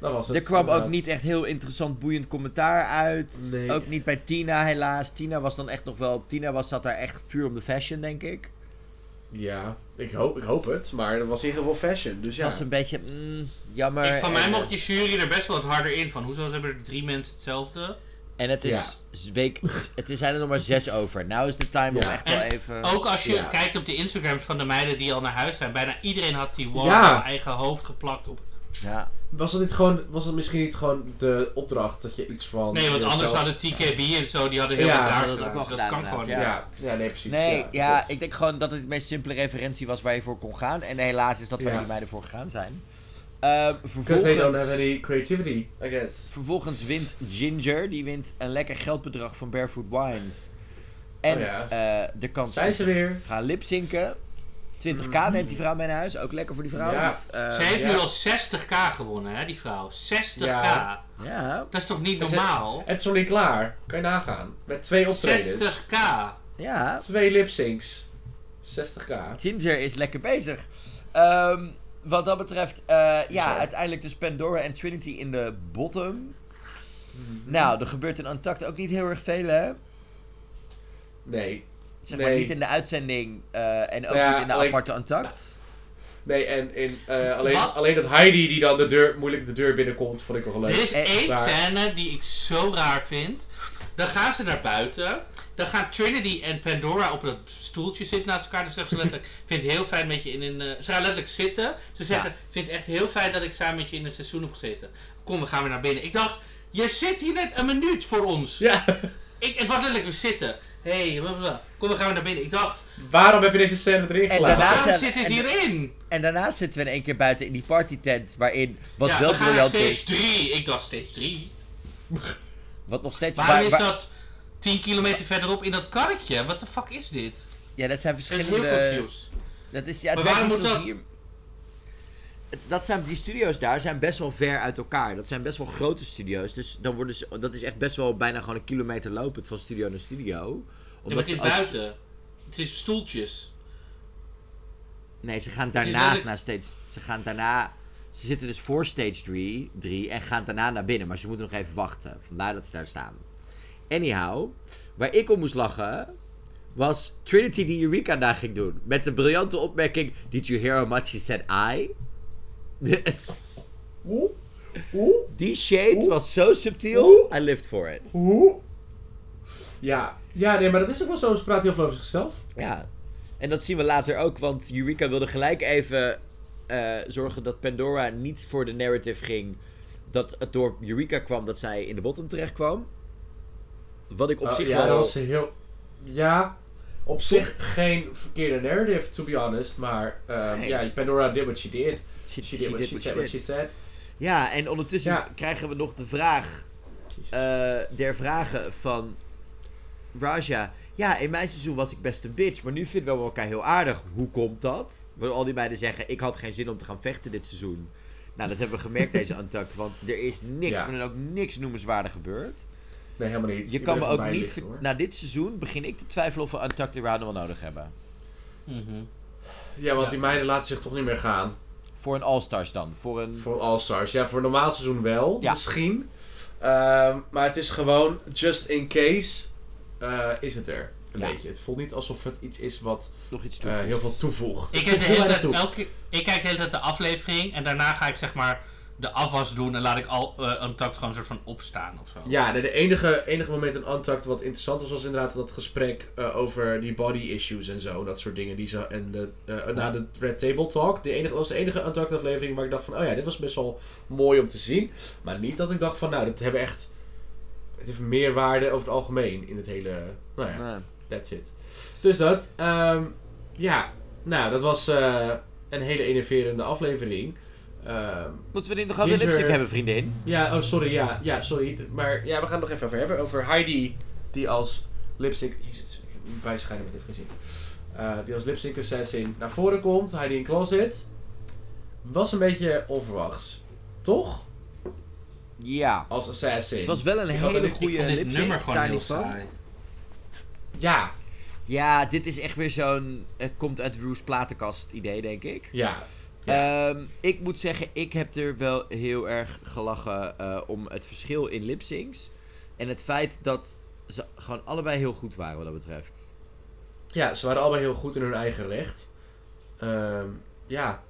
Dat was het.
Er kwam ook
inderdaad.
niet echt heel interessant, boeiend commentaar uit.
Nee.
Ook niet bij Tina, helaas. Tina was dan echt nog wel... Tina was, zat daar echt puur om de fashion, denk ik.
Ja. Ik hoop, ik hoop het. Maar er was in ieder geval fashion. Dus
Het
ja.
was een beetje... mm, jammer.
Ik, van mij
En,
mocht die jury er best wel wat harder in van. Hoezo hebben er drie mensen hetzelfde?
En het is week... Het is- zijn er nog maar zes over. Nou is de time om
Ja.
echt wel
En Oh.
even...
Ook als je
ja.
kijkt op de Instagrams van de meiden die al naar huis zijn. Bijna iedereen had die wall
Ja.
op eigen hoofd geplakt op.
Ja.
Was dat, niet gewoon, was dat misschien niet gewoon de opdracht dat je iets van...
Nee, want anders hadden TKB en zo, die hadden heel
Ja,
wat daar
dat had ik
staan.
ook
Dus dat
gedaan,
kan
inderdaad,
gewoon
Ja.
niet.
Ja. nee, precies.
Nee,
dat
ja,
klopt.
ik denk gewoon dat het de meest simpele referentie was waar je voor kon gaan. En helaas is dat waar
Ja.
die meiden voor gegaan zijn. Ehm,
Because they don't have
vervolgens,
any creativity, I guess.
vervolgens wint Ginger. Die wint een lekker geldbedrag van Barefoot Wines. En
Oh ja.
eh, de kans
Zijn
om
ze
te
weer?
gaan lipzinken. 20k neemt die vrouw mee naar huis. Ook lekker voor die vrouw.
Ja.
Of, eh,
Ze heeft
Ja.
nu al 60k gewonnen, hè, die vrouw. 60k.
Ja.
ja,
Dat is toch niet
Is het-
normaal?
Het is nog niet klaar. Kan je nagaan. Met twee optredens.
60k.
ja.
Twee lipsyncs. 60k.
Ginger is lekker bezig. Ehm, wat dat betreft, eh, ja,
Bizar.
uiteindelijk dus Pandora en Trinity in de bottom. Nou, er gebeurt in Antact ook niet heel erg veel, hè?
Nee.
Zeg maar
Nee.
niet in de uitzending eh, en ook
Nou
Ja,
niet in de
alleen-
aparte Antact.
Nee, en in, eh, alleen,
Wat?
alleen dat Heidi die dan de deur, moeilijk de deur binnenkomt, vond ik wel leuk.
Er is
Eh,
één
waar.
scène die ik zo raar vind. Dan gaan ze naar buiten. Dan gaan Trinity en Pandora op dat stoeltje zitten naast elkaar. Dan zeggen ze letterlijk, vind het heel fijn met je in een... eh, ze gaan letterlijk zitten. Ze zeggen, vind het echt heel fijn dat ik samen met je in een seizoen heb gezeten. Kom, we gaan weer naar binnen. Ik dacht, je zit hier net een minuut voor ons.
Ja.
Ik, het was letterlijk, we zitten. Hé, hey, bla, bla, bla. kom, we gaan weer naar binnen. Ik dacht,
Waarom heb je deze scène erin
En
gelaten?
daarna-
waarom
zijn-
zit dit
en-
hierin?
En daarnaast zitten we in één keer buiten in die partytent, waarin, wat
ja,
wel
we gaan naar
briljant
stage
is,
3. Ik dacht, stage 3?
wat nog steeds...
Waarom
waar-
is
waar-
dat 10 kilometer verderop in dat karretje? Wat de fuck is dit?
Ja, dat zijn
Dat is heel
verschillende...
confused.
Dat is, ja, het
Maar
werkt
waarom
niet
moet
zoals
dat?
hier. Het- Dat zijn, die studio's daar zijn best wel ver uit elkaar. Dat zijn best wel grote studio's. Dus dan worden ze, dat is echt best wel bijna gewoon een kilometer lopend van studio naar studio.
Ja, maar het
ze
is
ook-
buiten. Het is stoeltjes.
Nee, ze gaan
is
daarna
letterlijk-
naar stage... Ze gaan daarna... Ze zitten dus voor stage 3, 3 en gaan daarna naar binnen. Maar ze moeten nog even wachten. Vandaar dat ze daar staan. Anyhow, waar ik om moest lachen... was Trinity die Eureka daar ging doen. Met de briljante opmerking... Did you hear how much she said I?
Oeh, oeh,
Die shade
Oeh.
was zo subtiel.
Oeh.
I lived for it.
oeh. Ja. ja, nee, maar dat is ook wel zo. Ze praat heel veel over zichzelf.
Ja. En dat zien we later ook, want Eureka wilde gelijk even eh, zorgen dat Pandora niet voor de narrative ging. Dat het door Eureka kwam dat zij in de bottom terecht kwam. Wat ik op
Oh,
zich
ja,
wel.
dat was heel... Ja, op zich geen verkeerde narrative, to be honest. Maar ehm,
Nee.
ja, Pandora did what she did.
She-
She
she
did what
did
she
what
said,
she
what she
did.
said.
Ja, en ondertussen
Ja.
krijgen we nog de vraag eh, der vragen van Raja. Ja, in mijn seizoen was ik best een bitch, maar nu vinden we elkaar heel aardig. Hoe komt dat? Want al die meiden zeggen, ik had geen zin om te gaan vechten dit seizoen. Nou, dat hebben we gemerkt deze Antact, want er is niks,
Ja.
maar dan ook niks noemenswaardig gebeurd.
Nee, helemaal niet.
Je
Ik
kan me
ben
ook
even
niet...
bijlicht,
ver-
hoor.
Na dit seizoen begin ik te twijfelen of we Antact in wel nodig hebben.
Ja, want
Ja.
die meiden laten zich toch niet meer gaan.
Voor een All-Stars dan, voor een...
Voor All-Stars. Ja, voor een normaal seizoen wel,
Ja.
misschien. Ehm, maar het is gewoon, just in case, eh, is het er. Een
Ja.
beetje. Het voelt niet alsof het iets is wat
nog iets
eh,
toevoegen.
heel veel toevoegt.
Ik,
Het
heb de
voelt
hele
bijna
tijd
toe.
elke, ik kijk de hele tijd de aflevering en daarna ga ik zeg maar de afwas doen en laat ik al eh Untucked gewoon een soort van opstaan of zo.
Ja, de, de enige, enige moment in Untucked wat interessant was, was inderdaad dat gesprek eh, over die body issues en zo. Dat soort dingen. Die ze, en de, eh, na de Red Table Talk. De enige, dat was de enige Untucked aflevering waar ik dacht van, oh ja, dit was best wel mooi om te zien. Maar niet dat ik dacht van, nou, dit hebben echt... Het heeft meer waarde over het algemeen in het hele... Nou ja,
Nee.
that's it. Dus dat. ehm, ja, nou, dat was eh, een hele enerverende aflevering. Ehm,
Moeten we dit nog
over de
over
Ginger-
lipstick
lipstick
hebben,
hebben,
vriendin?
ja, oh sorry, ja, ja, sorry. Maar ja, we gaan het nog even over hebben. Over Heidi, die als lipstick... Jezus, ik heb een bijschijn met dit gezien. Eh, die als lipstick assassin naar voren komt. Heidi in closet. Was een beetje onverwachts. Toch?
Ja.
Als assassin.
Het was wel een
Ik had
hele
het- ik
goede
Ik vond dit
lipstick.
nummer gewoon
daar
heel
niet van.
saai.
Ja,
Ja, dit is echt weer zo'n. Het komt uit Roos platenkast idee, denk ik.
ja.
Ehm, ik moet zeggen, ik heb er wel heel erg gelachen eh, om het verschil in lipsyncs. En het feit dat ze gewoon allebei heel goed waren wat dat betreft.
Ja, ze waren allebei heel goed in hun eigen recht. Ehm, ja.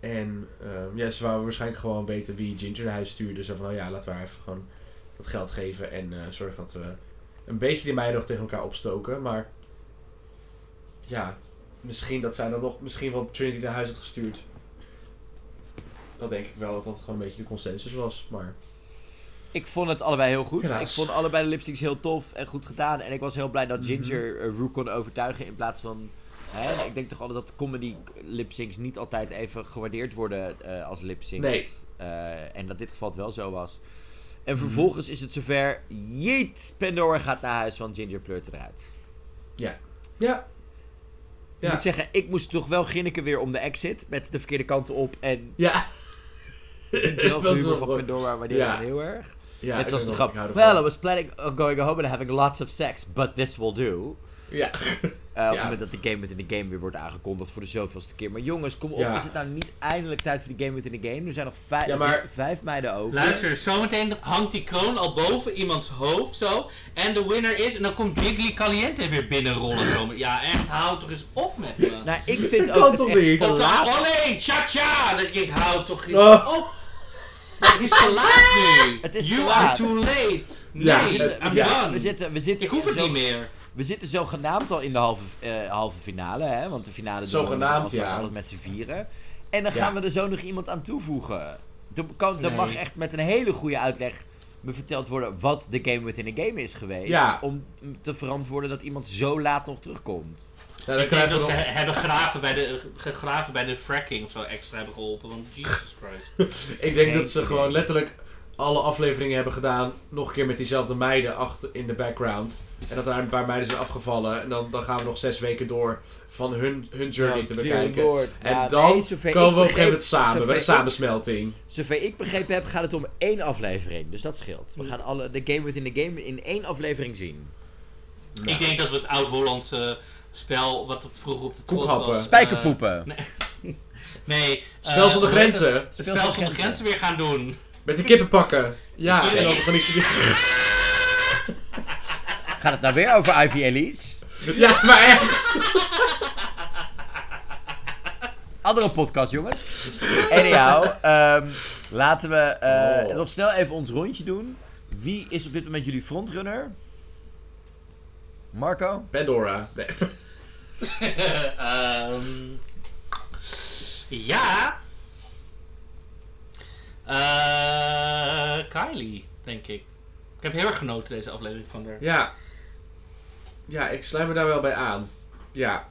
En ehm, ja, ze wouden waarschijnlijk gewoon weten wie Ginger naar huis stuurde. Zo van, nou ja, laten we haar even gewoon wat geld geven. En eh zorgen dat we een beetje die meiden nog tegen elkaar opstoken. Maar ja, misschien dat zij dan nog misschien wel Trinity naar huis had gestuurd. Dat denk ik wel, dat dat gewoon een beetje de consensus was. Maar
Ik vond het allebei heel goed.
Helaas.
Ik vond allebei de lipsticks heel tof en goed gedaan. En ik was heel blij dat Ginger
Mhm.
eh, Rue kon overtuigen in plaats van... Hè, ik denk toch altijd dat comedy lipsyncs niet altijd even gewaardeerd worden eh, als lipsyncs.
Nee. Mhm.
Eh, en dat dit geval het wel zo was. En vervolgens is het zover. Jeet, Pandora gaat naar huis, want Ginger pleurt eruit.
ja.
Ik
Ja.
moet zeggen, ik moest toch wel grinniken weer om de exit. Met de verkeerde kant op en
Ja.
het humor van
wel-
Pandora waardeer
Ja.
ik dan heel erg.
Ja,
Net
ik
zoals
weet
de grap.
nog, ik hou ervan.
Well, I was planning on going home and having lots of sex, but this will do. Eh,
Ja.
Op het
Ja.
moment dat de game within the game weer wordt aangekondigd voor de zoveelste keer. Maar jongens, kom op,
Ja.
is het nou niet eindelijk tijd voor de game within the game? Er zijn nog vijf,
Ja, maar-
er zitten vijf meiden over.
Luister, zometeen hangt die kroon al boven iemands hoofd zo. En de winner is. En dan komt Diggly Caliente weer binnenrollen. Zo. Ja, echt, hou toch eens op met me.
Nou, ik vind
Dat
ook
kan
het
toch
echt
niet?
te
Of dan,
laat.
olé, cha-cha! Dat ik hou toch eens
Oh.
op. Het is te laat nu.
Het is te
you
laat.
are too late. Nee,
Ja,
We zitten-
het-
we
I'm
zitten-
done.
we zitten- we zitten
ik hoef het
zo-
niet meer.
We zitten zogenaamd al in de halve, eh, halve finale, hè? Want de finale doen we
Zogenaamd,
alvast
ja.
alles met z'n vieren. En dan
Ja.
gaan we er zo nog iemand aan toevoegen. Dan kan, dan
Nee.
mag echt met een hele goede uitleg me verteld worden wat de game within a game is geweest.
Ja.
Om te verantwoorden dat iemand zo laat nog terugkomt.
Nou, dan
Ik denk
krijgen we
dat ze
nog...
he- hebben graven bij de, gegraven bij de fracking of zo extra hebben geholpen. Want Jesus Christ.
Ik denk
Geen
dat ze
idee.
gewoon letterlijk alle afleveringen hebben gedaan. Nog een keer met diezelfde meiden achter in de background. En dat daar een paar meiden zijn afgevallen. En dan, dan gaan we nog zes weken door van hun, hun journey te bekijken. En dan komen we op een gegeven moment samen. Bij de samensmelting.
Zover ik begrepen heb, gaat het om één aflevering. Dus dat scheelt. We gaan alle, de game within a game in één aflevering zien.
Nou.
Ik denk dat we het oud-Hollandse spel wat er vroeger op de trots
Koekhappen.
was... eh,
Spijkerpoepen.
nee. eh,
Spel zonder
hoe heet het?
grenzen.
Het spel zonder grenzen weer gaan doen.
Met de kippen pakken. Ja,
Nee.
en dan van die...
Gaat het nou weer over Ivy Ellis?
Ja, maar echt.
andere podcast, jongens. Anyhow, ehm, laten we eh,
Oh.
nog snel even ons rondje doen. Wie is op dit moment jullie frontrunner? Marco?
Pandora. Nee.
Ehm, ja. Eh, Kylie, denk ik. Ik heb heel erg genoten deze aflevering van haar.
Ja. Ja, ik sluit me daar wel bij aan. Ja.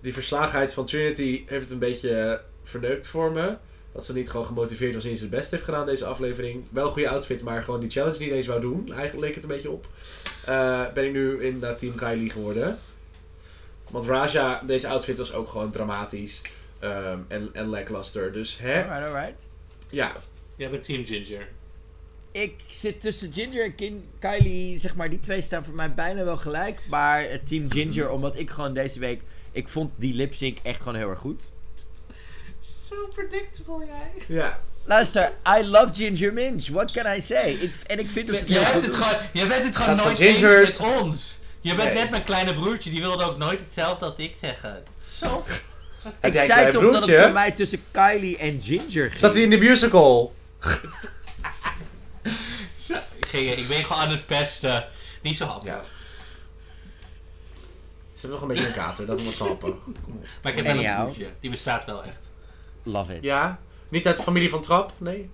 Die verslagenheid van Trinity heeft het een beetje verneukt voor me. Dat ze niet gewoon gemotiveerd was en niet zijn best heeft gedaan deze aflevering. Wel een goede outfit, maar gewoon die challenge niet eens wou doen. Eigenlijk leek het een beetje op. Eh, ben ik nu in dat team Kylie geworden. Want Raja, deze outfit was ook gewoon dramatisch. ehm, en, en lackluster. Dus hè?
Alright, alright.
Ja.
Jij bent Team Ginger.
Ik zit tussen Ginger en Kin- Kylie, zeg maar, die twee staan voor mij bijna wel gelijk. Maar het team Ginger, omdat ik gewoon deze week... Ik vond die lip sync echt gewoon heel erg goed.
Zo predictable jij.
Ja.
Luister, I love Ginger Minge, what can I say? Ik, en ik vind dat ze het heel
Jij,
goed
hebt
doet.
het gewoon, jij bent het gewoon
Gaat van
nooit eens
Gingers.
met ons. Je bent
Nee.
net mijn kleine broertje, die wilde ook nooit hetzelfde dat ik zeggen. Zo.
Ik
Jij
zei
klein
toch dat
broertje?
het voor mij tussen Kylie en Ginger ging.
Zat hij in de musical?
Zo, ik ging- Ik ben gewoon aan het pesten. Niet zo handig.
Ja. Ze hebben nog een beetje een kater, dat moet happen.
Maar ik heb wel een
Anyhow.
broertje. Die bestaat wel echt.
Love it.
Ja? Niet uit de familie van Trap? Nee?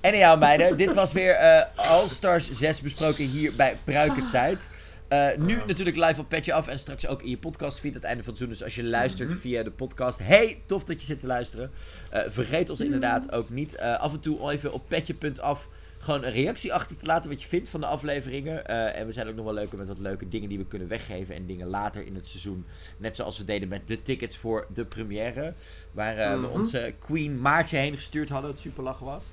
Anyhow, meiden, dit was weer eh All Stars 6 besproken hier bij Pruikentijd. Eh nu natuurlijk live op Petje Af en straks ook in je podcast via het einde van het seizoen. Dus als je luistert via de podcast, hey, tof dat je zit te luisteren. Eh, vergeet ons inderdaad ook niet eh, af en toe even op petje.af gewoon een reactie achter te laten wat je vindt van de afleveringen. Eh, en we zijn ook nog wel leuker met wat leuke dingen die we kunnen weggeven en dingen later in het seizoen. Net zoals we deden met de tickets voor de première. Waar eh, we
Mhm.
onze Queen Maartje heen gestuurd hadden, het super lach was.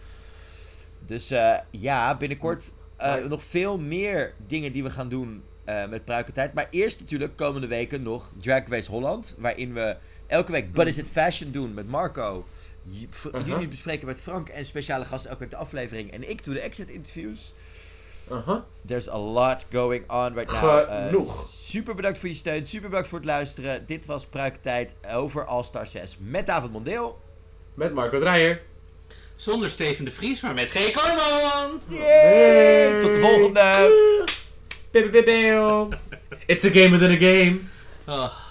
Dus eh, ja, binnenkort eh,
Maar-
nog veel meer dingen die we gaan doen eh, met Pruikentijd. Maar eerst natuurlijk komende weken nog Drag Race Holland. Waarin we elke week But Is It Fashion doen met Marco. J- v-
Uh-huh.
Jullie bespreken met Frank en speciale gasten elke week de aflevering. En ik doe de exit interviews.
Aha.
There's a lot going on right now. Eh,
Genoeg.
super bedankt voor je steun. Super bedankt voor het luisteren. Dit was Pruikentijd over All Star 6 met David Mondeel.
Met Marco Dreyer.
Zonder Steven de Vries, maar met G. Kooijman!
Yay! Tot de volgende!
Bip, bip, bip, bip. It's a game within a game.
Oh.